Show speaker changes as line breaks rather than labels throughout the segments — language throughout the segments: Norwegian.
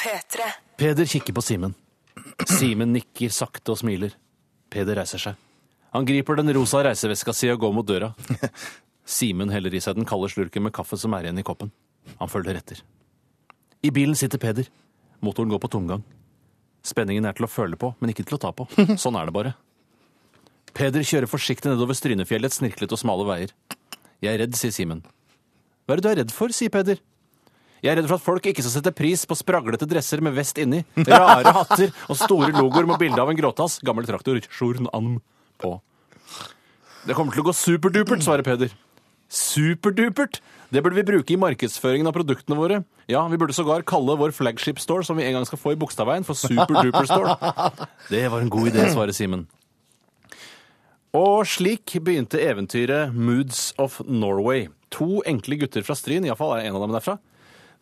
P3.
Peder kikker på Simen. Simen nikker sakte og smiler. Peder reiser seg. Han griper den rosa reiseveska si og går mot døra. Simen heller i seg den kalde slurken med kaffe som er igjen i koppen. Han følger etter. I bilen sitter Peder. Motoren går på tomgang. Spenningen er til å føle på, men ikke til å ta på. Sånn er det bare. Peder kjører forsiktig nedover Strynefjellets snirklete og smale veier. Jeg er redd, sier Simen. Hva er det du er redd for, sier Peder. Jeg er redd for at folk ikke skal sette pris på spraglete dresser med vest inni, rare hatter og store logoer med bilde av en gråtass, gammel traktor, sjorn anm, på. Det kommer til å gå superdupert, svarer Peder. Superdupert! Det burde vi bruke i markedsføringen av produktene våre. Ja, vi burde sågar kalle vår flagship store, som vi en gang skal få i Bogstadveien, for Superduper Store. Det var en god idé, svarer Simen. Og slik begynte eventyret Moods of Norway. To enkle gutter fra Stryn, iallfall er en av dem derfra.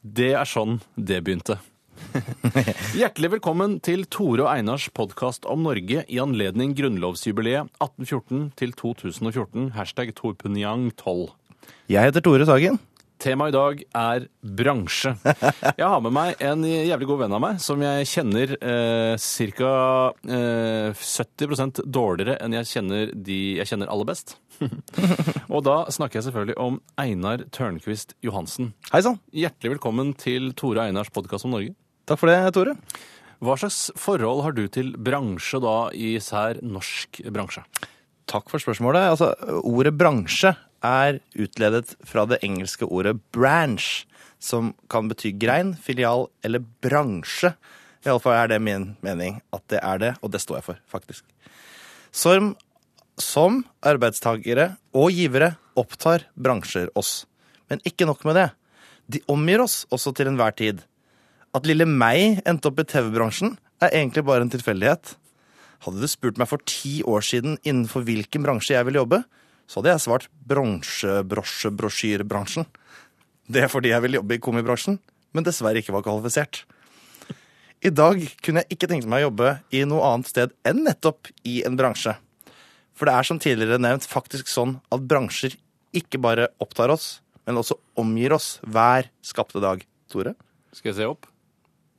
Det er sånn det begynte. Hjertelig velkommen til Tore og Einars podkast om Norge i anledning grunnlovsjubileet 1814 til 2014, hashtag torpunjang12.
Jeg heter Tore Sagen.
Temaet i dag er bransje. Jeg har med meg en jævlig god venn av meg som jeg kjenner eh, ca. Eh, 70 dårligere enn jeg kjenner de jeg kjenner aller best. Og da snakker jeg selvfølgelig om Einar Tørnquist Johansen.
Hei sann.
Hjertelig velkommen til Tore Einars podkast om Norge.
Takk for det, Tore.
Hva slags forhold har du til bransje, da især norsk bransje?
Takk for spørsmålet. Altså, ordet bransje er utledet fra det engelske ordet branch, som kan bety grein, filial eller bransje. Iallfall er det min mening at det er det, og det står jeg for, faktisk. Som, som arbeidstagere og givere opptar bransjer oss. Men ikke nok med det. De omgir oss også til enhver tid. At lille meg endte opp i TV-bransjen, er egentlig bare en tilfeldighet. Hadde du spurt meg for ti år siden innenfor hvilken bransje jeg ville jobbe, så hadde jeg svart bronse, brosje, brosjyrebransjen. Det er fordi jeg ville jobbe i komibransjen, men dessverre ikke var kvalifisert. I dag kunne jeg ikke tenke meg å jobbe i noe annet sted enn nettopp i en bransje. For det er som tidligere nevnt faktisk sånn at bransjer ikke bare opptar oss, men også omgir oss hver skapte dag. Tore?
Skal jeg se opp?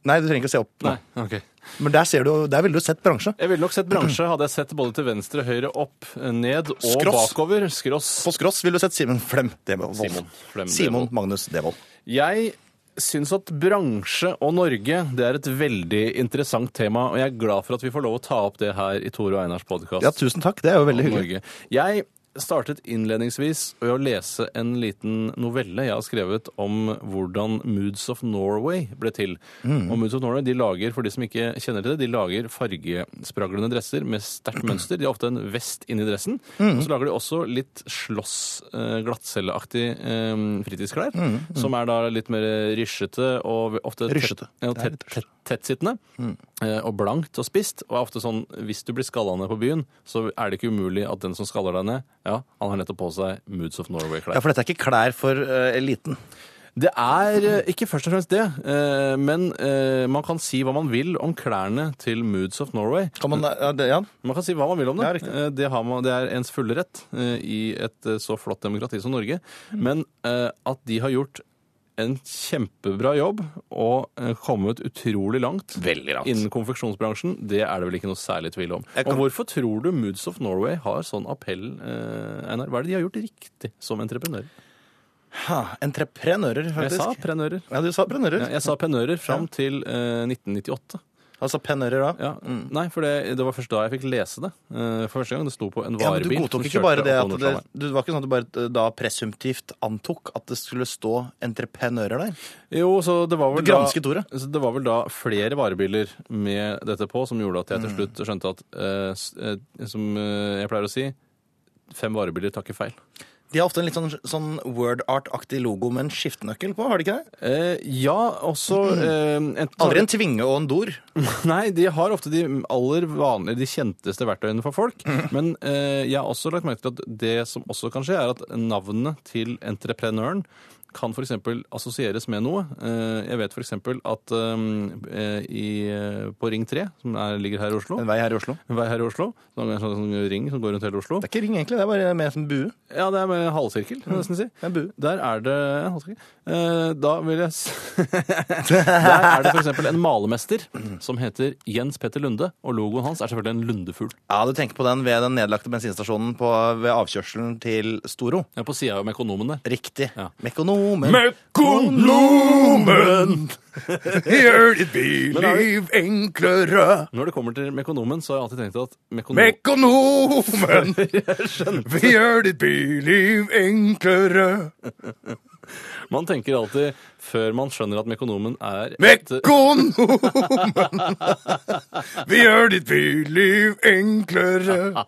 Nei, du trenger ikke å se opp. nå.
Nei. ok.
Men der, ser du, der ville du sett bransje.
Jeg ville nok sett bransje, hadde jeg sett både til venstre, høyre, opp, ned og
Skross.
bakover. Skross.
På skross ville du sett Simen Flem Devold.
Simon Flem
Simon
Devold.
Magnus Devold.
Jeg syns at bransje og Norge det er et veldig interessant tema, og jeg er glad for at vi får lov å ta opp det her i Tore og Einars podkast.
Ja, tusen takk. Det er jo veldig hyggelig.
Jeg startet innledningsvis ved å lese en liten novelle jeg har skrevet om hvordan Moods of Norway ble til.
Mm.
Og Moods of Norway de lager, for de som ikke kjenner til det, de lager fargespraglende dresser med sterkt mønster. De har ofte en vest inni dressen.
Mm.
Og så lager de også litt slåss, eh, glattcelleaktig eh, fritidsklær,
Mm.
som er da litt mer rysjete og ofte tett-
Rysjete.
Ja,
Det er
tett,
litt
tett, tettsittende eh, og blankt og spist. Og er ofte sånn hvis du blir skalla ned på byen, så er det ikke umulig at den som skaller deg ned, ja, han har nettopp på seg Moods of
Ja,
Norway-klær.
For dette er ikke klær for eh, eliten.
Det er eh, ikke først og fremst det, eh, men eh, man kan si hva man vil om klærne til Moods of Norway.
Kan man, eh, ja, det, ja.
Man kan si hva man vil om det.
Ja, riktig.
Eh, det, har man, det er ens fulle rett eh, i et eh, så flott demokrati som Norge. Men eh, at de har gjort en kjempebra jobb og eh, kommet utrolig langt
Veldig langt.
innen konfeksjonsbransjen, det er det vel ikke noe særlig tvil om.
Jeg kan-
Og hvorfor tror du Moods of Norway har sånn appell, eh, Einar? Hva er det de har gjort riktig som entreprenører?
Ha, entreprenører,
Jeg
faktisk.
sa prenører.
Ja, du sa prenører.
Ja, Jeg sa pennører fram
Ja.
til eh, 1998.
Altså pennører, da.
Ja. Nei, for det, det var først da jeg fikk lese det. eh, for første gang. Det sto på en
Ja, men
varebil.
du godtok
som
ikke
kjørte
bare det at
oppover
det,
Nordsjøen.
du, det var ikke sånn at du bare eh, da presumptivt antok at det skulle stå entreprenører der.
Jo, så det var vel
Du gransket
da,
ordet.
så Det var vel da flere varebiler med dette på som gjorde at jeg til slutt skjønte at eh, s- eh, Som eh, jeg pleier å si Fem varebiler takker feil.
De har ofte en litt sånn, sånn word art-aktig logo med en skiftenøkkel på, har de ikke det?
Eh, ja, også eh, et-
Aldri en tvinge og en dor.
Nei, de har ofte de aller vanlige, de kjenteste verktøyene for folk.
Mhm.
Men eh, jeg har også lagt merke til at det som også kan skje, er at navnet til entreprenøren kan f.eks. assosieres med noe. Eh, Jeg vet f.eks. at um, eh, i, eh, på Ring 3, som er, ligger her i Oslo
En vei her i Oslo.
en vei her i Oslo. Så er det en sånn sånn ring som går rundt hele Oslo.
Det er ikke ring, egentlig. Det er bare mer som bue.
Ja, det er med halvsirkel, kan jeg nesten si.
Det er en bue.
Der er det en halvsirkel. Eh, Da vil jeg s- Der er det f.eks. en malermester som heter Jens Petter Lunde, og logoen hans er selvfølgelig en lundefugl.
Ja, du tenker på den ved den nedlagte bensinstasjonen på, ved avkjørselen til Storo.
Jeg er på sida av Mekonomen der.
Riktig.
Ja.
Mekonomen.
Mekonomen!
Gjør ditt byliv enklere.
Når det kommer til Mekonomen, så har jeg alltid tenkt at Mekonomen
Mekonomen. Vi gjør ditt byliv enklere.
Man tenker alltid, før man skjønner at Mekonomen er et-
Mekonomen. Vi gjør ditt byliv enklere.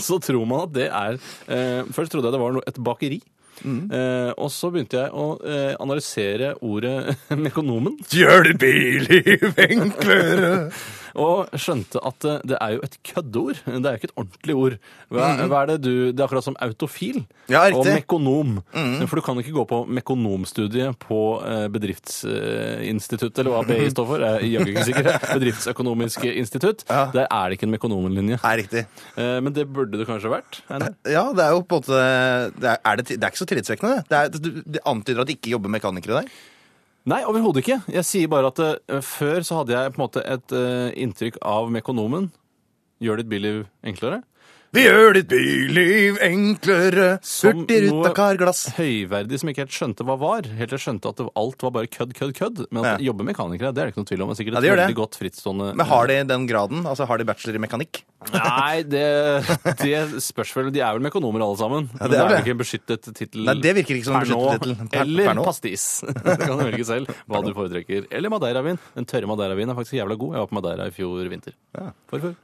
så tror man at det er eh, Først trodde jeg det var no, et bakeri. Eh, og så begynte jeg å eh, analysere ordet mekonomen,
Gjør ditt byliv enklere.
og skjønte at eh, det er jo et køddeord. Det er jo ikke et ordentlig ord. Hva, hva er Det du, det er akkurat som autofil
Mhm. Ja, riktig. Mhm.
og mekonom. For du kan ikke gå på mekonomstudiet på eh, bedriftsinstituttet, eller hva
Mhm.
BI står for. Jeg er jaggu ikke sikker. Bedriftsøkonomisk institutt.
Ja.
Der er det ikke en mekonomenlinje.
Nei, riktig.
Eh, men det burde det kanskje vært. Einar?
Ja, det er jo på en måte Det er, er, det, det er ikke så tillitvekkende, det. Det, er, du- det antyder at de ikke jobber mekanikere der.
Nei, overhodet ikke. Jeg sier bare at eh, før så hadde jeg på en måte et eh, inntrykk av Mekonomen. Gjør ditt billiv enklere.
Vi gjør ditt byliv enklere.
Som noe-
Hurtigruta karglass.
Høyverdig som jeg ikke helt skjønte hva var. Helt til jeg skjønte at det- alt var bare kødd, kødd, kødd. Men at
Ja.
jobbe mekanikere, det er det ikke noe tvil om. Det er sikkert
Ja,
et
det gjør
veldig
det.
godt frittstående
Men har de den graden? Altså Har de bachelor i mekanikk?
Nei, det, det spørs vel. De er vel mekonomer alle sammen.
Ja, det
men det
er
er
vel
vel ikke en beskyttet tittel
Nei, det virker ikke som en
per nå,
beskyttet tittel. Per- per
Eller
nå.
pastis. Det kan du velge selv hva du foretrekker. Eller madeiravin. Den tørre madeiravinen er faktisk jævla god. Jeg var på Madeira i fjor vinter. Forfjor.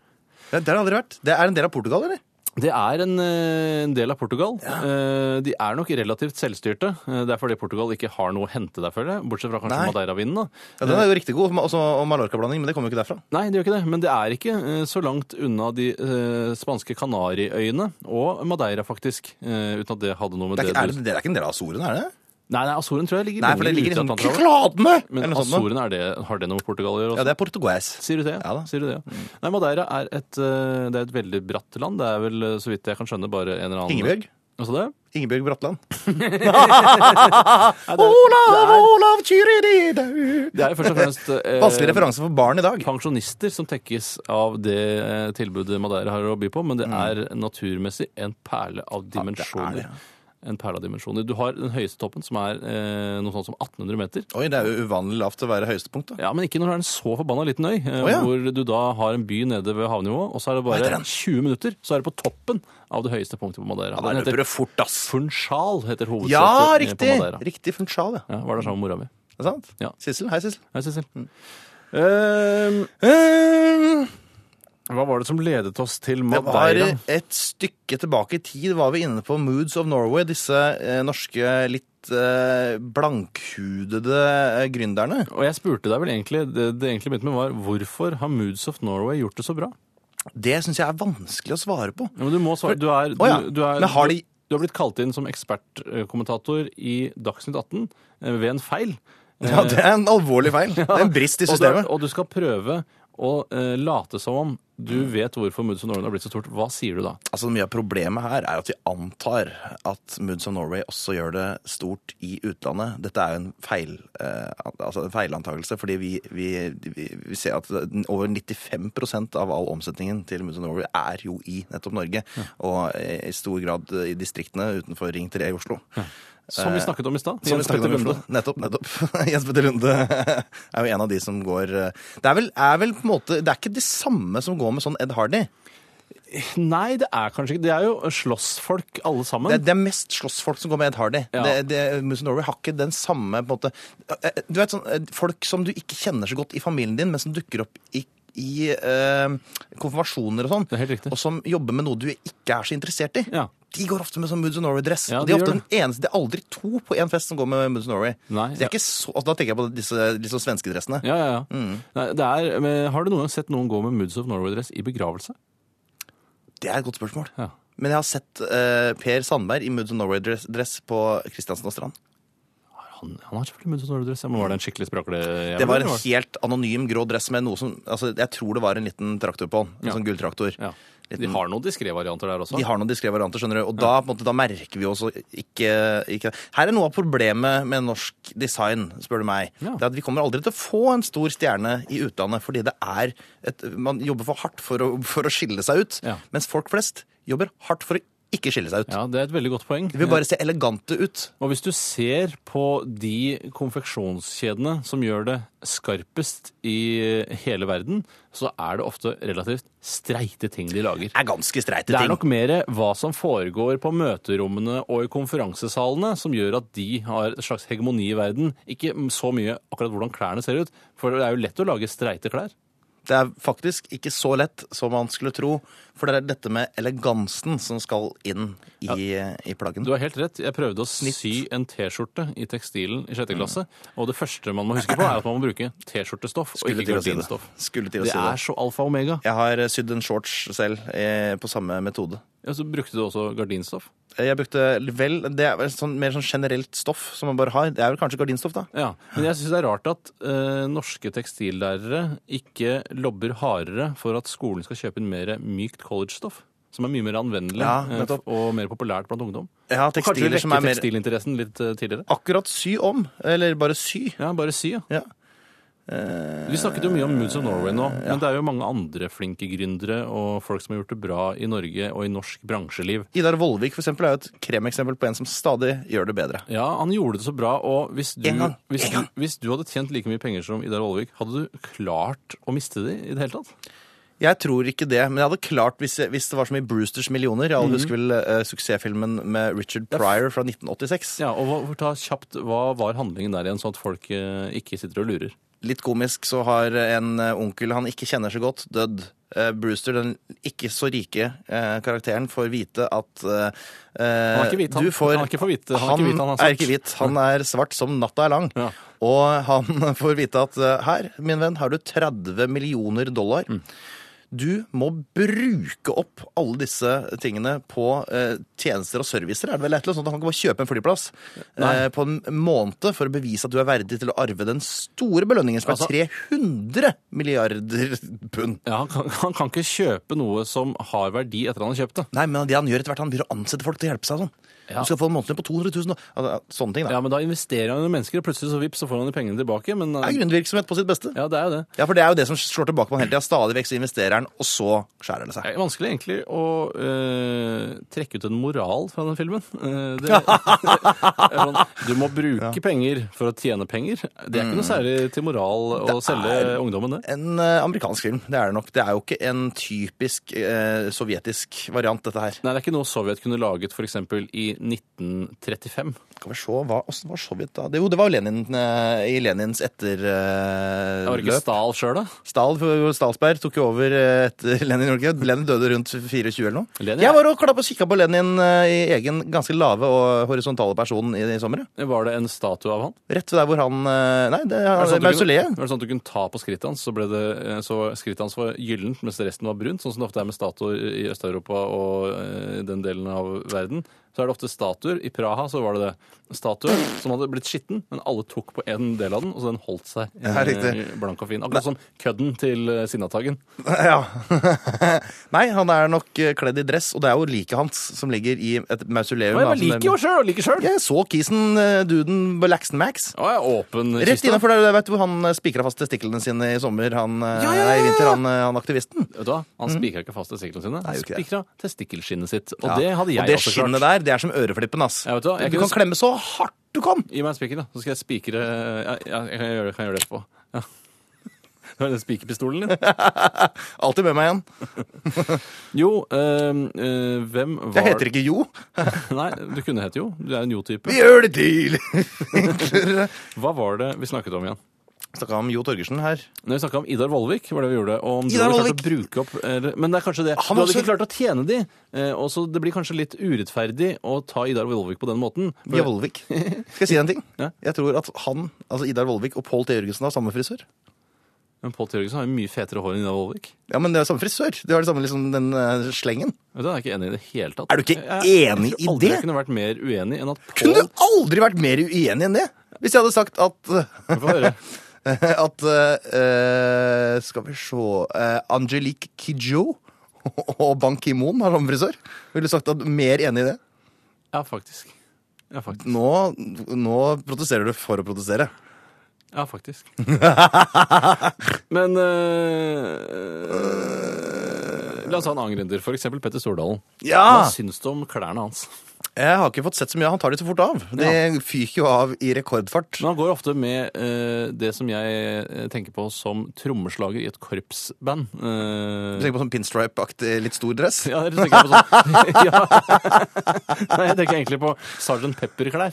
Ja, det har det aldri vært. Det er en del av Portugal, eller?
Det er en, eh, en del av Portugal. Eh, De er nok relativt selvstyrte. Eh, Det er fordi Portugal ikke har noe å hente der, føler jeg. Bortsett fra kanskje
Nei.
Madeira-vinen, da.
Ja, Den er jo riktig god, også og Mallorca-blanding, men det kommer jo ikke derfra.
Nei, det gjør ikke det. Men det er ikke eh, så langt unna de eh, spanske Kanariøyene og Madeira, faktisk. eh, uten at det hadde noe med
Det er,
det,
ikke, er
du
det, det er ikke en del av Azorene, er det?
Nei, nei Azoren tror jeg ligger
Nei, for det
lenger
ligger i
ute i
sånn
Atlanterhavet.
Kladene!
Men
Eller noe sånt. noe.
Azoren, er det, har det noe med Portugal å gjøre?
Ja,
Også?
det er portugues.
Sier du det?
Ja da. Mm.
Sier du det, ja. Nei, Madeira er et, eh, det er et veldig bratt land. Det er vel, eh, så vidt jeg kan skjønne, bare en eller annen
Ingebjørg?
Hva sa du?
Ingebjørg Bratland.
det er- det
Olav,
er-
Olav, Kyrididau!
Det er jo først og fremst eh,
Vanskelig referanse for barn i dag.
pensjonister som tekkes av det eh, tilbudet Madeira har å by på, men det er naturmessig en perle av dimensjoner.
Mm. det,
En perle av dimensjoner. Du har den høyeste toppen, som er eh, noe sånt som 1800 meter.
Oi, det er jo uvanlig lavt å være høyestepunkt, da.
Ja, Men ikke når det er en så forbanna liten øy, eh,
Å, ja.
hvor du da har en by nede ved havnivå, og så er det
heter
bare
den?
20 minutter, så er det på toppen av det høyeste punktet på Madeira.
Da
den heter
løper det fort, ass.
Funchal, heter hovedsetet
Ja,
eh,
riktig!
på Madeira.
Riktig funchal, ja.
Ja, Var der sammen med mora mi.
Det er sant?
Ja.
Sissel? Hei, Sissel.
Hei, Sissel.
Mm. Um, um,
Ehm, Hva var det som ledet oss til
Det var
Ehm, Madeira?
et stykke tilbake i tid var vi inne på Moods of Norway, disse eh, norske litt eh, blankhudede eh, gründerne.
Og jeg spurte deg vel egentlig, det, det egentlig begynte med var, hvorfor har Moods of Norway gjort det så bra?
Det syns jeg er vanskelig å svare på.
Ja, men du må svare, du er, du,
Å ja,
du er,
men har de-
du har blitt kalt inn som ekspertkommentator i Dagsnytt 18 eh, ved en feil.
Ja, Det er en alvorlig feil. Det er en brist i
Og du, er-
systemet.
og du skal prøve å eh, late som om du vet hvorfor Moods of Norway har blitt så stort. Hva sier du da?
Altså, Mye av problemet her er at vi antar at Moods of Norway også gjør det stort i utlandet. Dette er jo en, feil, eh, altså en feilantakelse, fordi vi, vi, vi, vi ser at over 95 av all omsetningen til Moods of Norway er jo i nettopp Norge. Og eh, i stor grad eh, i distriktene utenfor Ring 3 i Oslo.
Som vi snakket om i stad.
Eh, Som vi
Jens
snakket om i
Petter
Oslo.
Lunde.
Nettopp. nettopp. Jens Petter Lunde er jo en av de som går eh, Det er vel, er vel på en måte Det er ikke det samme som går med sånn Ed Hardy.
Nei, det er kanskje ikke Det er jo slåssfolk alle sammen.
Det, det er mest slåssfolk som går med Ed Hardy.
Ja.
Det, det, Moose Norway har ikke den samme på en måte. eh, Du vet sånn, eh, Folk som du ikke kjenner så godt i familien din, men som dukker opp i, i eh, konfirmasjoner og sånn.
Det er helt riktig.
Og som jobber med noe du ikke er så interessert i.
Ja.
De går ofte med sånn Moods of Norway-dress.
Ja,
Og
de
de er ofte
gjør
den eneste, det er aldri to på én fest som går med Moods of Norway.
Nei,
Så det er ikke så, altså, da tenker jeg på disse, disse sånn svenske dressene.
Ja, ja, ja.
Mm.
Nei, det er, men har du noen gang sett noen gå med Moods of Norway-dress i begravelse?
Det er et godt spørsmål.
Ja.
Men jeg har sett eh, Per Sandberg i Moods of Norway-dress på Kristiansen og Strand.
Han, han har selvfølgelig munn til snørredress. Men var det en skikkelig sprakle?
Det var en helt anonym grå dress med noe som altså, Jeg tror det var en liten traktor på den. En
Ja.
sånn gulltraktor.
ja. De har noen diskré varianter der også.
De har noen diskré varianter, skjønner du. Og da, på en måte, da merker vi også ikke, ikke Her er noe av problemet med norsk design, spør du meg.
Ja.
Det er at Vi kommer aldri til å få en stor stjerne i utlandet, fordi det er et, man jobber for hardt for å, for å skille seg ut.
Ja.
Mens folk flest jobber hardt for å ikke skille seg ut.
Ja, Det er et veldig godt poeng.
De vil bare se elegante ut.
Og hvis du ser på de konfeksjonskjedene som gjør det skarpest i hele verden, så er det ofte relativt streite ting de lager.
Det er ganske streite
Det er
ting.
nok mer hva som foregår på møterommene og i konferansesalene som gjør at de har et slags hegemoni i verden. Ikke så mye akkurat hvordan klærne ser ut, for det er jo lett å lage streite klær.
Det er faktisk ikke så lett som man skulle tro, for det er dette med elegansen som skal inn i, i plaggen.
Du har helt rett. Jeg prøvde å sy en T-skjorte i tekstilen i
Mm.
sjette klasse, og det første man må huske på, er at man må bruke T-skjortestoff og
Skulle
ikke
til å si det.
gardinstoff.
Skulle til å
Det
si det.
er så alfa og omega.
Jeg har sydd en shorts selv eh, på samme metode.
Ja, så brukte du også gardinstoff?
Eh, Jeg brukte vel, Det er vel sånn, mer sånn generelt stoff som man bare har. Det er vel kanskje gardinstoff, da.
Ja, men jeg syns det er rart at eh, norske tekstillærere ikke lobber hardere for at skolen skal kjøpe inn mer mykt collegestoff. Som er mye mer anvendelig
Ja,
eh,
nettopp.
og mer populært blant ungdom.
Jeg har
Og kanskje vi
tekstiler som
vekker
er mer
tekstilinteressen litt eh, tidligere.
Akkurat sy om, eller bare sy.
Ja, bare si, ja.
Ja. Eh,
Vi snakket jo mye om Moods of Norway nå, men det er jo mange andre flinke gründere og folk som har gjort det bra i Norge og i norsk bransjeliv.
Idar Vollvik for eksempel, er jo et kremeksempel på en som stadig gjør det bedre.
Ja, han gjorde det så bra, og hvis du,
En gang,
hvis,
en
du, hvis du hadde tjent like mye penger som Idar Vollvik, hadde du klart å miste de i det hele tatt?
Jeg tror ikke det, men jeg hadde klart hvis, jeg- hvis det var så mye Brewsters millioner. Jeg
Mhm.
husker vel eh, suksessfilmen med Richard Pryor fra 1986.
Ja, og hva- ta kjapt, Hva var handlingen der igjen, sånn at folk eh, ikke sitter og lurer?
Litt komisk så har en eh, onkel han ikke kjenner så godt, dødd. Eh, Brewster, den ikke så rike eh, karakteren, får vite at eh,
Han er ikke hvit, han.
du får,
Han er ikke for hvit. Han er ikke hvit, han altså. er svart.
er ikke hvit. Han er svart som natta er lang.
Ja.
Og han får vite at eh, her, min venn, har du 30 millioner dollar.
Mm.
Du må bruke opp alle disse tingene på eh, tjenester og servicer. Er det vel et eller annet sånt? Han kan ikke bare kjøpe en flyplass eh, på en måned for å bevise at du er verdig til å arve den store belønningen som
Altså-
er 300 milliarder pund.
Ja, han, kan, han kan ikke kjøpe noe som har verdi etter han har kjøpt det.
Nei, men det han gjør etter hvert, han begynner å ansette folk til å hjelpe seg og sånn.
Ja.
Du skal få en månedslønn på 200 000 og altså, sånne ting, da.
Ja, men Da investerer han i mennesker, og plutselig så vips, så får han de pengene tilbake. men...
Det er
eh,
gründervirksomhet på sitt beste.
Ja, det er jo det.
Ja, for det er jo det som slår tilbake på han hele tida. Stadig vekk så investerer han, og så skjærer det seg.
Det er vanskelig egentlig å eh, trekke ut en moral fra den filmen. Eh, det, sånn, du må bruke penger for å tjene penger. Det er ikke noe særlig til moral å selge ungdommen det.
En eh, amerikansk film, det er det nok. Det er jo ikke en typisk eh, sovjetisk variant, dette her.
Nei, Det er ikke noe Sovjet kunne laget f.eks. i 1935.
Skal vi se, hva, åssen var Sovjet da? Det, jo, det var jo Lenin eh, i Lenins eh,
Det var ikke
etterløp.
Stahl sjøl, da.
Stahl, Stalsberg tok jo over eh, etter Lenin. gjorde han ikke det? Lenin døde rundt 24 eller noe.
Lenin, ja.
jeg var og klappa og kikka på Lenin eh, i egen ganske lave og horisontale person i, i sommer. ja.
Var det en statue av han?
Rett ved der hvor han eh, Nei, det
Er det sånn
er
at du kunne-
mausoleet.
Er det sånn at du kunne ta på skrittet hans, så, ble det, eh, så skrittet hans var gyllent, mens resten var brunt, sånn som det ofte er med statuer i Øst-Europa og eh, den delen av verden? Så er det ofte statuer. I Praha så var det det. Statuer som hadde blitt skitten, men alle tok på en del av den, og så den holdt seg eh,
Ja, riktig.
blank og fin. Akkurat sånn kødden til eh, Sinnataggen.
Ja. Nei, han er nok eh, kledd i dress, og det er jo liket hans som ligger i et mausoleum. da, som det-
sjøl, og liker sjøl!
Jeg så kisen, eh, duden Laxton Max.
Å, jeg er åpen
Rett
kiste.
innafor der, vet du hvor han eh, spikra fast testiklene sine i sommer, han, eh,
Ja, ja, ja, ja.
nei, i vinter, han, eh, han aktivisten.
Vet du hva? Han spikra ikke fast testiklene sine, han
Mm. jo ikke det.
spikra testikkelskinnet sitt. Og
Ja.
det hadde jeg
og det
også klart.
skinnet der, det er som øreflippen, ass.
Ja, vet du hva, jeg
du
kunne
kan
s-
klemme så hardt du kan!
Gi meg en spiker, da, så skal jeg spikre ja, ja, Jeg kan gjøre det, kan gjøre det etterpå. Ja. Det var den spikerpistolen din.
Alltid med meg igjen.
Jo, øhm, øh, hvem var
Jeg heter ikke Jo.
Nei, du kunne hett Jo. Du er en Jo-type.
Vi gjør det tidlig!
Hva var det vi snakket om igjen?
Snakka om Jo Torgersen her.
Når vi snakka om Idar Vollvik, var det vi gjorde. Og om du
Idar
hadde klart å
Vollvik!
bruke opp eller, Men det er kanskje det.
Han
du hadde
også-
ikke klart å tjene de, eh, og så det blir kanskje litt urettferdig å ta Idar Vollvik på den måten. For-
Via Vollvik. Skal jeg si deg en ting?
Ja.
Jeg tror at han, altså Idar Vollvik og Pål T. Jørgensen har samme frisør.
Men Pål T. Jørgensen har jo mye fetere hår enn Ida Wolvik.
Ja, men det er samme frisør. Du har det samme liksom, den eh, slengen.
Vet du, Jeg er ikke enig i det hele tatt.
Er du ikke
Jeg-
enig
jeg
i
tror aldri
det?
Jeg kunne vært mer uenig enn at Pål
Kunne du aldri vært mer uenig enn det? Hvis jeg hadde sagt at eh,
Få høre.
At eh, Skal vi se eh, Angelique Kidjo og Ban Ki-moon har samme frisør. Ville du sagt at mer enig i det?
Ja, faktisk. Ja, faktisk.
Nå, nå protesterer du for å protestere.
Ja, faktisk. Men eh, La oss ta en annen gründer, f.eks. Petter Stordalen. Hva
Ja!
syns du om klærne hans?
Jeg har ikke fått sett så mye. Han tar de så fort av. Det fyker jo av i rekordfart.
Men han går ofte med eh, det som jeg eh, tenker på som trommeslager i et korpsband. Eh,
Du tenker på sånn pinstripe-aktig, litt stor dress?
ja, eller tenker jeg på sånn ja. Nei, jeg tenker egentlig på Sergeant Pepper-klær.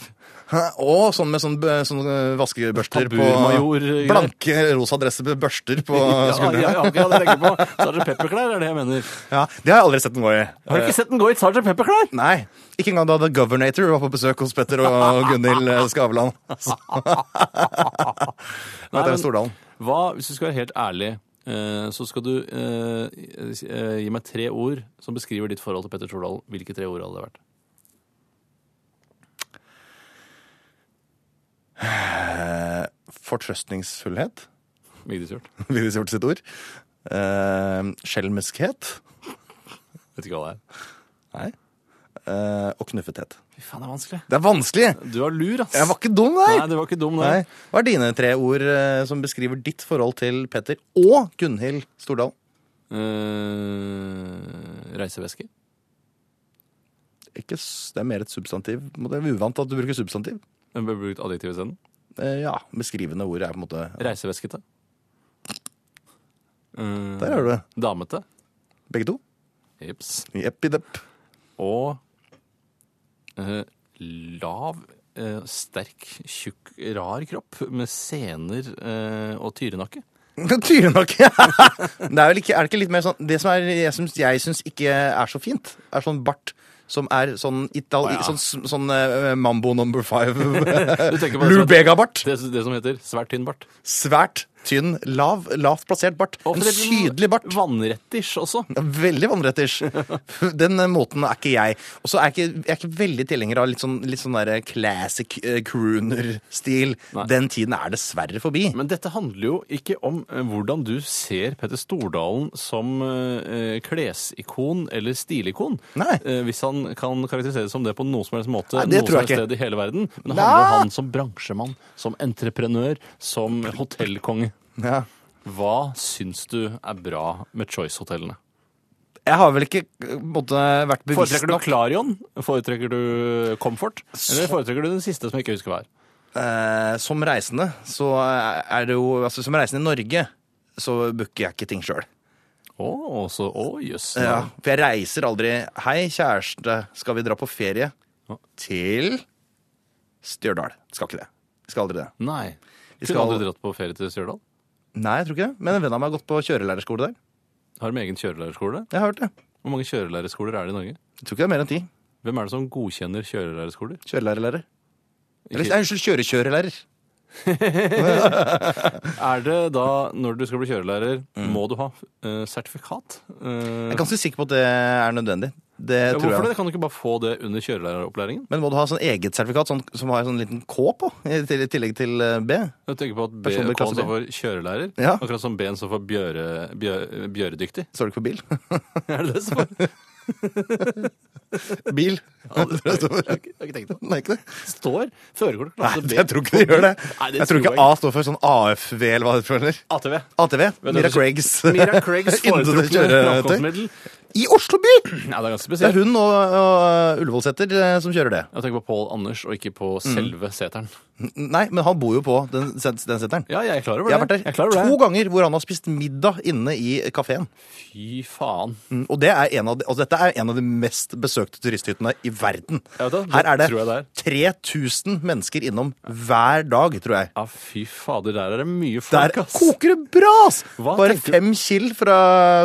Hæ? Og sånn med sånn, b- sånn eh, vaskebørster på
Tamburmajor-greier.
Blanke rosa dresser med børster på
eh, Ja,
skuldrene.
ja, ja, akkurat det jeg tenker på. Sergeant Pepper-klær er det jeg mener.
Ja, Det har jeg aldri sett den gå i.
Har du ikke sett den gå i Sergeant Pepper-klær?
Nei. Ikke engang da The Governator var på besøk hos Petter og Gunhild eh, Skavlan. Så- Nei, det er Stordalen.
Hva, hvis du skal være helt ærlig, eh, så skal du eh, eh, gi meg tre ord som beskriver ditt forhold til Petter Stordalen. Hvilke tre ord hadde det vært?
Eh, Fortrøstningsfullhet,
Vigdis Hjorth.
ville de gjort sitt ord. Eh, Skjelmskhet.
Vet ikke hva det er.
Nei. Eh, og knuffethet.
Fy faen, det er vanskelig.
Det er vanskelig!
Du er lur, ass.
Jeg var ikke dum
Nei,
der!
du var ikke dum,
Nei.
der.
Hva er dine tre ord eh, som beskriver ditt forhold til Petter og Gunhild Stordalen?
Eh, reiseveske.
Ikke, s- det er mer et substantiv. Det er uvant at du bruker substantiv.
Den ble brukt adjektiv isteden.
Eh, ja, Beskrivende ord er på en måte
Reiseveskete. Eh,
Der har du det.
Damete.
Begge to.
Jips.
Jeppidepp.
Og eh, lav, eh, sterk, tjukk, rar kropp med sener eh, og tyrenakke.
Tyrenakke! det er vel ikke, er det ikke litt mer sånn Det som er, jeg syns, jeg syns ikke er så fint, er sånn bart som er sånn ital...
Å, ja.
Sånn, sånn eh, Mambo number five.
Du tenker på det som-
Lubega-bart.
Det, det som heter svært tynn bart.
Svært tynn, lav, lavt plassert bart.
Og
En
for det-
sydelig bart.
Vannrettish også.
Veldig vannretters. Den eh, måten er ikke jeg. Og så er jeg ikke, jeg er ikke veldig tilhenger av litt sånn, litt sånn der classic eh, crooner-stil.
Nei.
Den tiden er dessverre forbi.
Men dette handler jo ikke om eh, hvordan du ser Petter Stordalen som eh, klesikon eller stilikon.
Nei.
Eh, hvis han kan karakteriseres som det på noen som helst måte
Nei, det
noe
tror
som
jeg
helst
ikke.
sted i hele verden. Men det
Nei.
handler om han som bransjemann, som entreprenør, som hotellkonge.
Ja.
Hva syns du er bra med Choice-hotellene?
Jeg har vel ikke eh, på en måte, vært bevisst
Foretrekker du
nok
Clarion? Foretrekker du Comfort? Eller foretrekker du den siste som jeg ikke husker hva er?
Eh, som reisende, så er det jo altså, Som reisende i Norge, så booker jeg ikke ting sjøl.
Å, også, å jøss.
Ja, for jeg reiser aldri 'Hei, kjæreste, skal vi dra på ferie?'
Ja.
til Stjørdal. Skal ikke det. Skal aldri det.
Nei.
Vi
Skulle
skal-
aldri dratt på ferie til Stjørdal?
Nei, jeg tror ikke det. Men en venn av meg har gått på kjørelærerskole der.
Har de egen kjørelærerskole?
Jeg har hørt det.
Hvor mange kjørelærerskoler er det i Norge?
Jeg tror ikke det er mer enn ti.
Hvem er det som godkjenner kjørelærerskoler?
Kjørelærerlærer. Eller,
Ikke-
nei, unnskyld, kjørekjørelærer.
Er det da, når du skal bli kjørelærer, må du ha eh, sertifikat? Eh,
Mm. Jeg er ganske sikker på at det er nødvendig. Det
ja,
tror
hvorfor
jeg.
det? Kan du ikke bare få det under kjørelæreropplæringen?
Men må du ha sånn eget sertifikat sånn, som har en sånn liten K på, i til- i tillegg til eh, B?
Jeg tenker på at B
Personlig
K
klasse B.
står for kjørelærer,
Ja.
akkurat som B-en står for bjøre, bjø- bjøredyktig.
Står det ikke på bil?
Er det det som står?
Bil.
Ja, det tror jeg står. Jeg har ikke- jeg har ikke tenkt på det.
Nei, ikke det.
Står førerkort
Nei,
klasse B?
jeg tror ikke det gjør det.
Nei, det
Jeg tror
tror
ikke
jeg
A står for sånn AFV eller hva det heter.
ATV.
ATV.
Men
Mira
det er-
Craigs.
Mira Craigs
Innendørs
foretrukne
kjøretøy.
framkomstmiddel.
I Oslo by!
Ja, det er ganske
Det er
spesielt.
hun og, og Ullevålseter eh, som kjører det.
Jeg tenker på Pål Anders, og ikke
Mm.
på selve seteren.
Nei, men han bor jo på den, den seteren.
Ja, jeg er klar over det.
Jeg har vært
Jeg er
der
klar over
to
det.
ganger hvor han har spist middag inne i kafeen.
Fy faen.
Og det er en av de, altså dette er en av de mest besøkte turisthyttene i verden.
Ja, vet du, det
Her er det,
tror jeg det er.
3000 mennesker innom hver dag, tror jeg.
Ja, fy fader, der er det mye
Der
folk, ass.
koker det bra! ass!
Hva
Bare
tenker du-
fem kill fra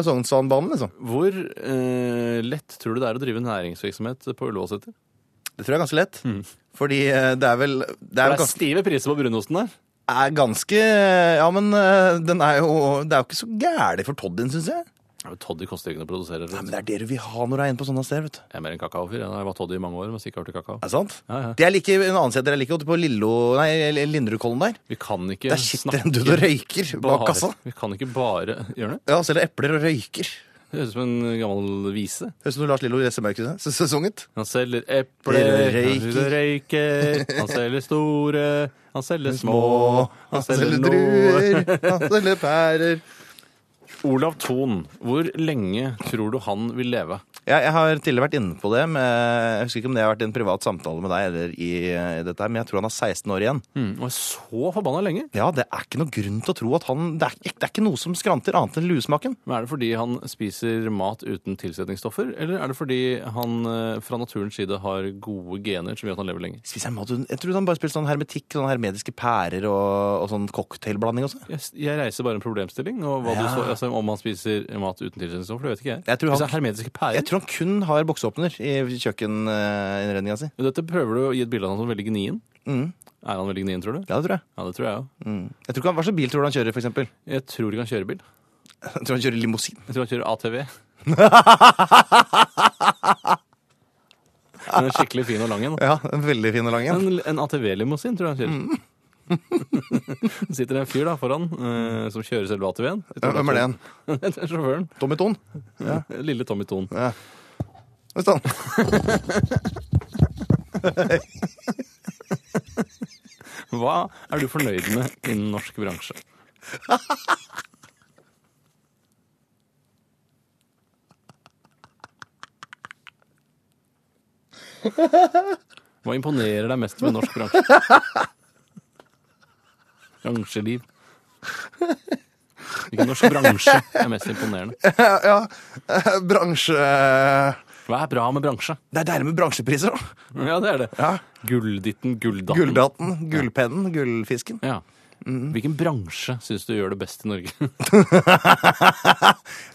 Sognsvanbanen, liksom.
Hvor eh, lett tror du det er å drive næringsvirksomhet på Ullevålseter?
Det tror jeg er ganske lett. Fordi eh, det er vel Det
Mm. Det
er,
er
jo ganske,
stive priser på brunosten der.
er ganske Ja, men eh, den er jo, det er jo ikke så gæli for Toddyen, syns jeg.
Toddy koster ikke noe å produsere.
Nei, men
Jeg
det er det du vil ha når du er inne på sånne steder, vet du.
er mer en kakaofyr. Jeg har vært Toddy i mange år, men stikker over til kakao.
Er det sant?
Ja, ja.
Det er like, en annen sted jeg liker godt, på Lillo, nei, Linderudkollen der.
Vi kan ikke
Der sitter en dude og røyker bak kassa.
Vi kan ikke bare gjøre det.
Ja, selger epler og røyker.
Det høres ut som en gammel vise.
Høres ut som Lars Lillo leser mørket sunget.
Han selger epler,
Røyker.
han selger røyker, han selger store, han selger små, han selger noe.
druer, han selger pærer.
Olav Thon, hvor lenge tror du han vil leve?
Ja, jeg har tidligere vært inne på det, men jeg husker ikke om det har vært i en privat samtale med deg eller i eh, dette her, men jeg tror han har 16 år igjen.
Mm, og er så forbanna lenge.
Ja, det er ikke noe grunn til å tro at han Det er, ikke- det er ikke noe som skranter annet enn luesmaken.
Men Er det fordi han spiser mat uten tilsetningsstoffer, eller er det fordi han eh, fra naturens side har gode gener som gjør at han lever lenge?
Spiser han mat uten Jeg tror han bare spiser sånn hermetikk, sånn hermediske pærer og, og sånn cocktailblanding også.
Jeg, jeg reiser bare en problemstilling, og hva du
Ja.
så, altså, om han spiser mat uten tilsetningsstoffer, det vet ikke jeg.
Jeg tror han-
Hvis det er hermetiske pærer.
Jeg tror han kun har bokseåpner i kjøkkeninnredninga si.
Dette prøver du å gi et bilde av han som veldig gnien.
Mm.
Er han veldig gnien, tror du?
Ja, det tror jeg.
Ja, det tror jeg òg.
Mm. Jeg tror ikke han, Hva slags bil tror du han kjører, for eksempel?
Jeg tror ikke han kjører bil.
Jeg tror han kjører limousin.
Jeg tror han kjører ATV. Den er skikkelig fin og lang en. da.
Ja, en veldig fin og lang en.
En, en ATV-limousin tror jeg han kjører.
Mm.
Det sitter en fyr da foran eh, som kjører selve ATV-en.
Hvem er det igjen?
det er sjåføren.
Tommy Thon?
Lille Tommy Thon.
Ja. Hvis han
Hva er du fornøyd med innen norsk bransje? Hva imponerer deg mest med norsk bransje? Bransjeliv. Hvilken norsk bransje er mest imponerende?
Ja, eh, bransje
Hva er bra med bransje?
Det er deilig med bransjepriser, da.
Ja, det er det.
Ja.
Gullditten, gulldatten.
Gulldatten, gullpennen, gullfisken.
Ja. Hvilken bransje syns du gjør det best i Norge?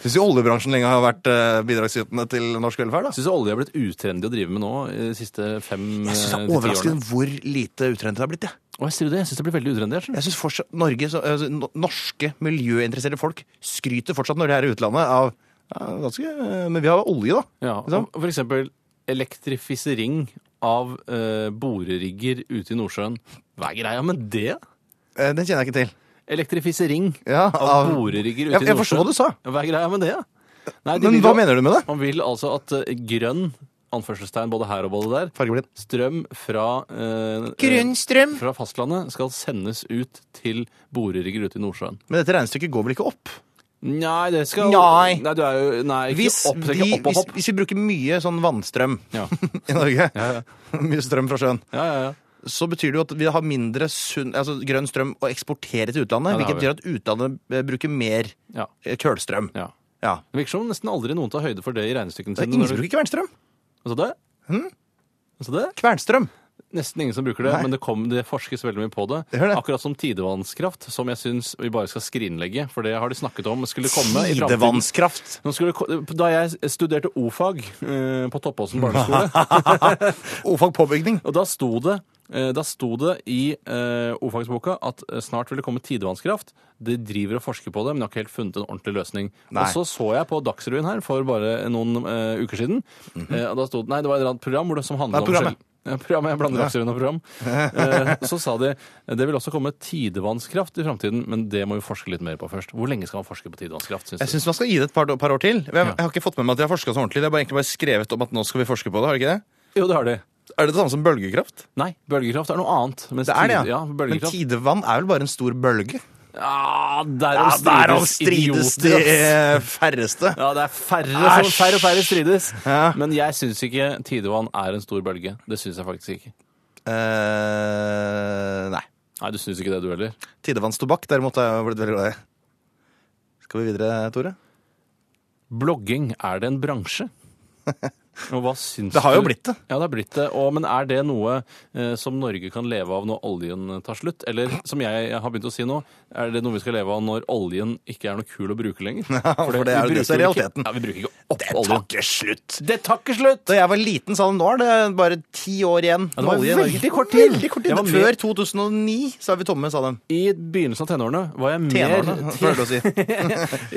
Syns jo oljebransjen lenge har vært eh, bidragsytende til norsk velferd, da.
Syns olje har blitt utrendy å drive med nå i de siste fem
Jeg syns
eh,
det er
til ti
overraskende hvor lite utrent det har blitt, jeg.
årene. Å, jeg sier du det? Jeg syns det blir veldig utrendy. jeg, skjønner
Jeg synes fortsatt Norge, så, altså, no- Norske miljøinteresserte folk skryter fortsatt når de er i utlandet av ja, ganske, eh, Men vi har olje, da.
du. Ja,
Liksom.
og for eksempel elektrifisering av eh, borerigger ute i Nordsjøen. Hva er greia med det?
Eh, Den kjenner jeg ikke til.
Elektrifisering
Ja,
av,
av-
borerigger ute i
Jeg, Ah. jeg forstår
Nordsjøen.
hva du sa,
Hva er greia med det? Nei, de
men
vil
hva
jo-
mener du med det?
Man vil altså at eh, grønn anførselstegn både her og både der
Fargeblind.
strøm fra eh,
Grunnstrøm.
fra fastlandet skal sendes ut til borerigger ute i Nordsjøen.
Men dette regnestykket går vel ikke opp?
Nei, det skal
Nei.
du er jo Nei, ikke
Hvis,
opp. Det er
de,
ikke opp og
hvis,
hopp.
hvis vi bruker mye sånn vannstrøm
Ja.
i Norge,
Ja, ja.
mye strøm fra sjøen,
Ja, ja, ja.
så betyr det jo at vi har mindre sunn, altså grønn strøm å eksportere til
Ja, det
utlandet.
har
hvilket betyr at utlandet eh, bruker mer
ja,
eh, kullstrøm.
ja.
Ja.
Det virker som om nesten aldri noen tar høyde for det i regnestykkene
Det er
sine.
ingen
når
som
du-
bruker kvernstrøm.
Hva sa du? Hva sa du?
Kvernstrøm.
Nesten ingen som bruker det,
Nei.
men det, kom, det forskes veldig mye på det.
Det gjør det.
Akkurat som tidevannskraft, som jeg syns vi bare skal skrinlegge. For det har de snakket om skulle komme i framtiden.
Tidevannskraft.
Nå skulle, ko- da jeg studerte o-fag eh, på Toppåsen barneskole,
Ofag påbygning.
og da sto det, eh, da sto det i eh, o-fagsboka at eh, snart vil det komme tidevannskraft. De driver og forsker på det, men de har ikke helt funnet en ordentlig løsning.
Nei.
Og så så jeg på Dagsrevyen her for bare noen eh, uker siden. eh, og da sto det, nei, det var et eller annet program hvor det som handlet
Mhm. Nei,
om
programmet.
skjell- Ja, Programmet, Jeg blander Dagsrevyen og program. Eh, så sa de det vil også komme tidevannskraft i framtiden, men det må vi forske litt mer på først. Hvor lenge skal man forske på tidevannskraft? Synes du?
Jeg syns man skal gi det et par, par år til. Jeg, jeg har ikke fått med meg at de har forska så ordentlig. Det er bare, egentlig bare skrevet om at nå skal vi forske på det. har det ikke det?
Jo, det har de.
Er det det samme som bølgekraft?
Nei, bølgekraft er noe annet. mens
Det er det,
tid-
ja. Men
bølgekraft.
tidevann er vel bare en stor bølge?
Ah, derom
altså
strides
de
idioter, ass.
eh, færreste.
Ja, det er færre, som-
Æsj.
færre og færre strides.
Ja.
Men jeg syns ikke tidevann er en stor bølge. Det syns jeg faktisk ikke.
Eh, nei.
Nei, du syns ikke det, du heller.
Tidevannstobakk derimot har jeg blitt veldig glad i. Skal vi videre, Tore?
Blogging, er det en bransje? Og hva syns
Det har jo
du-
blitt det.
Ja, det har blitt det. Og, men er det noe eh, som Norge kan leve av når oljen tar slutt? Eller som jeg har begynt å si nå, er det noe vi skal leve av når oljen ikke er noe kul å bruke lenger?
for det er jo
vi
det som er
bruker ikke-
realiteten.
Ja, vi bruker ikke opp
Det tar
oljen.
ikke slutt!
Det tar ikke slutt!
Da jeg var liten, sa han nå er det bare ti år igjen.
det
med
var
olje i Norge.
veldig kort tid.
Veldig kort tid.
Jeg var med-
Før 2009 så er vi tomme, sa de.
I begynnelsen av tenårene var jeg mer
Tenårene, prøvde å si.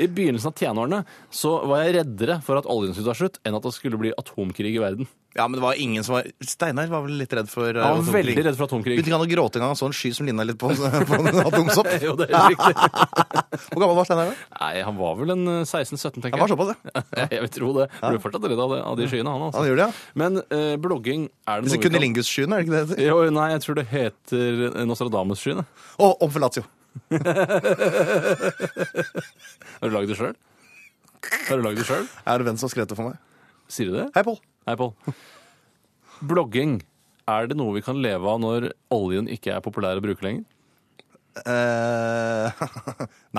I begynnelsen av tenårene så var jeg reddere for at oljen skulle ta slutt, enn at det skulle bli atomkrig i verden.
Ja, men det var ingen som var Steinar var vel litt redd for eh,
Jeg var
atomkrig.
veldig redd for atomkrig.
Begynte ikke han å gråte engang? Han så en sky som ligna litt på, på en atomsopp?
Jo, det er helt riktig.
Hvor gammel var Steinar? da?
Nei, han var vel en eh, 16-17, tenker jeg.
Han var såpass, ja.
Jeg vil tro det. Ble fortsatt redd av, det, av de skyene, han. altså.
Han gjorde det, ja.
Men eh, blogging er det noe
Disse
vi kan...
Kunilingus-skyene, er det ikke det det heter?
Jo, nei, jeg tror det heter eh, Nostradamus-skyene.
Å, om Felatio.
Har du lagd det sjøl? Har du lagd det sjøl?
Er det venn som har skrevet det for meg?
Sier du det?
Hei, Pål.
Hei, Pål. Blogging. Er det noe vi kan leve av når oljen ikke er populær å bruke lenger?
Eh,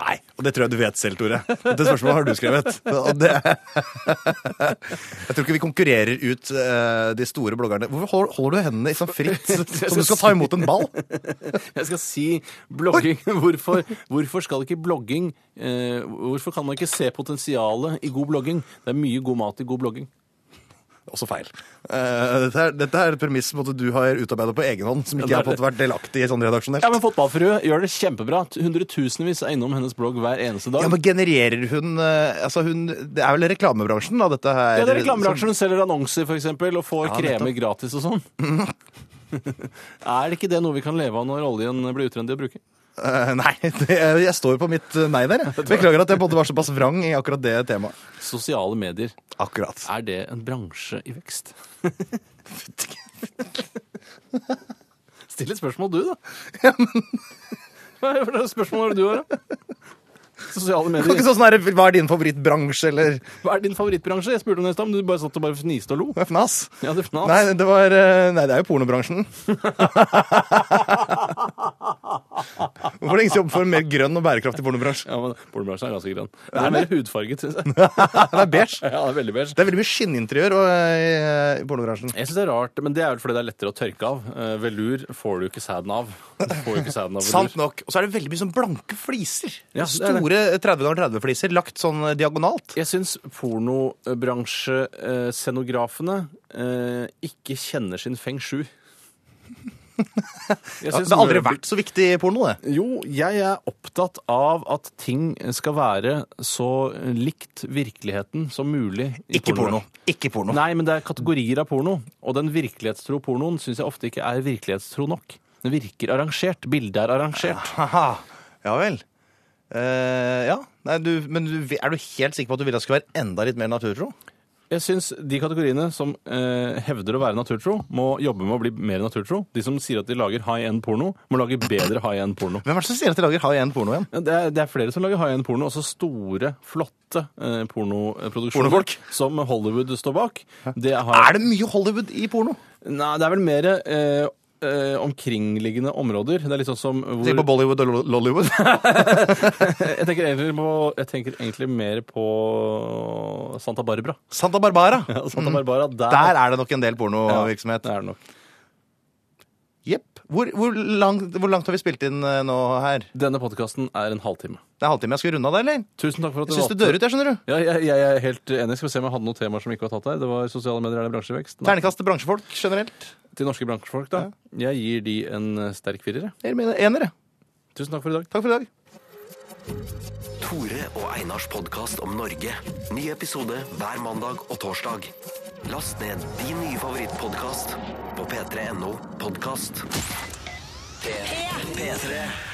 nei, og det tror jeg du vet selv, Tore. Dette spørsmålet har du skrevet. Og det... Jeg tror ikke vi konkurrerer ut eh, de store bloggerne. Hvorfor hol- holder du hendene i sånn fritt som du skal ta imot en ball?
Jeg skal si blogging. Hvorfor, hvorfor skal ikke blogging eh, Hvorfor kan man ikke se potensialet i god blogging? Det er mye god mat i god blogging.
Også feil. Eh, dette, er, dette er et premiss på en måte, du har utarbeidet på egen hånd, som ikke
Ja,
jeg
det er
har fått vært delaktig i sånn redaksjonelt.
Ja, men Fotballfrue gjør det kjempebra. Hundretusenvis er innom hennes blogg hver eneste dag.
Ja, men genererer hun eh, Altså, hun Det er vel reklamebransjen, da, dette her?
Ja, det er reklamebransjen som selger annonser for eksempel, og får
Ja,
kremer
nettopp.
gratis og sånn. er det ikke det noe vi kan leve av når oljen blir utrendig å bruke?
som- Eh, nei, det, jeg står jo på mitt eh, nei der. jeg. Beklager at jeg både var såpass vrang i akkurat det temaet.
Sosiale medier,
Akkurat.
er det en bransje i vekst? Still et spørsmål du, da. Hva er det spørsmålet du har, da? Sosiale
Det var
medier.
ikke sånn her, Hva er din favorittbransje, eller
Hva er din favorittbransje? Jeg spurte om det i stad, men du bare satt og bare fniste og lo.
Hva er fnas?
Ja, det er fnas.
Nei, det var eh, Nei, det er jo pornobransjen. Hvorfor lenge siden jobbe for en mer grønn og bærekraftig pornobransje?
Ja, men Pornobransjen er ganske grønn. Den er mer hudfarget, syns jeg.
Det er beige.
Ja, det er veldig beige.
Det er veldig mye skinninteriør og, eh, i pornobransjen.
Jeg synes det er rart, men det er vel fordi det er lettere å tørke av. Eh, Velur får du ikke sæden av. Du får jo ikke sæden av velur.
Sant nok. Og så er det veldig mye sånn blanke fliser.
Ja,
Altså
det er det.
Store 30 ganger 30 fliser lagt sånn eh, diagonalt.
Jeg syns pornobransjescenografene eh, ikke kjenner sin feng shui. Jeg
Ja,
synes
det har aldri
møbel-
vært så viktig i porno, det.
Jo, jeg er opptatt av at ting skal være så likt virkeligheten som mulig. i
Ikke porno.
pornobransjen.
Ikke porno.
Nei, men det er kategorier av porno, og den virkelighetstro pornoen syns jeg ofte ikke er virkelighetstro nok. Den virker arrangert. Bildet er arrangert.
Haha. Ja vel. Eh, ja. Nei, du, men du, er du helt sikker på at du ville at det skulle være enda litt mer naturtro?
Jeg syns de kategoriene som eh, hevder å være naturtro, må jobbe med å bli mer naturtro. De som sier at de lager high end porno, må lage bedre high end porno.
Hvem er det som sier at de lager high end porno igjen?
Ja, Det er, det er flere som lager high end porno, også store, flotte eh, pornoproduksjoner
Pornofolk.
som Hollywood står bak. Det er, high-
Er det mye Hollywood i porno?
Nei, det er vel mer eh, eh, omkringliggende områder. Det er litt sånn som hvor,
Tenk på Bollywood og Lo- Lollywood.
jeg, tenker egentlig på, jeg tenker egentlig mer på Santa Barbara.
Santa Barbara.
Ja, Santa Barbara, der,
Mm. Der er det nok en del pornovirksomhet.
er det nok.
Jepp. Hvor, hvor, langt, hvor langt har vi spilt inn eh, nå her?
Denne podkasten er en halvtime.
Det er halvtime. Jeg skal runde av det, eller?
Tusen takk for at
Jeg
du
syns
valgte
det dør ut, jeg, skjønner du.
Ja, jeg, jeg er helt enig. Skal vi se om jeg hadde noen temaer som ikke var tatt her. Det var sosiale medier er det bransjevekst. Nei.
Ternekast til bransjefolk generelt.
Til norske bransjefolk, da. Jeg gir de en eh, sterk firer. jeg.
Eller mener enere.
Tusen takk for i dag.
Takk for i dag.
Tore og Einars podkast om Norge. Ny episode hver mandag og torsdag. Last ned din nye favorittpodkast på p3.no podkast. P3.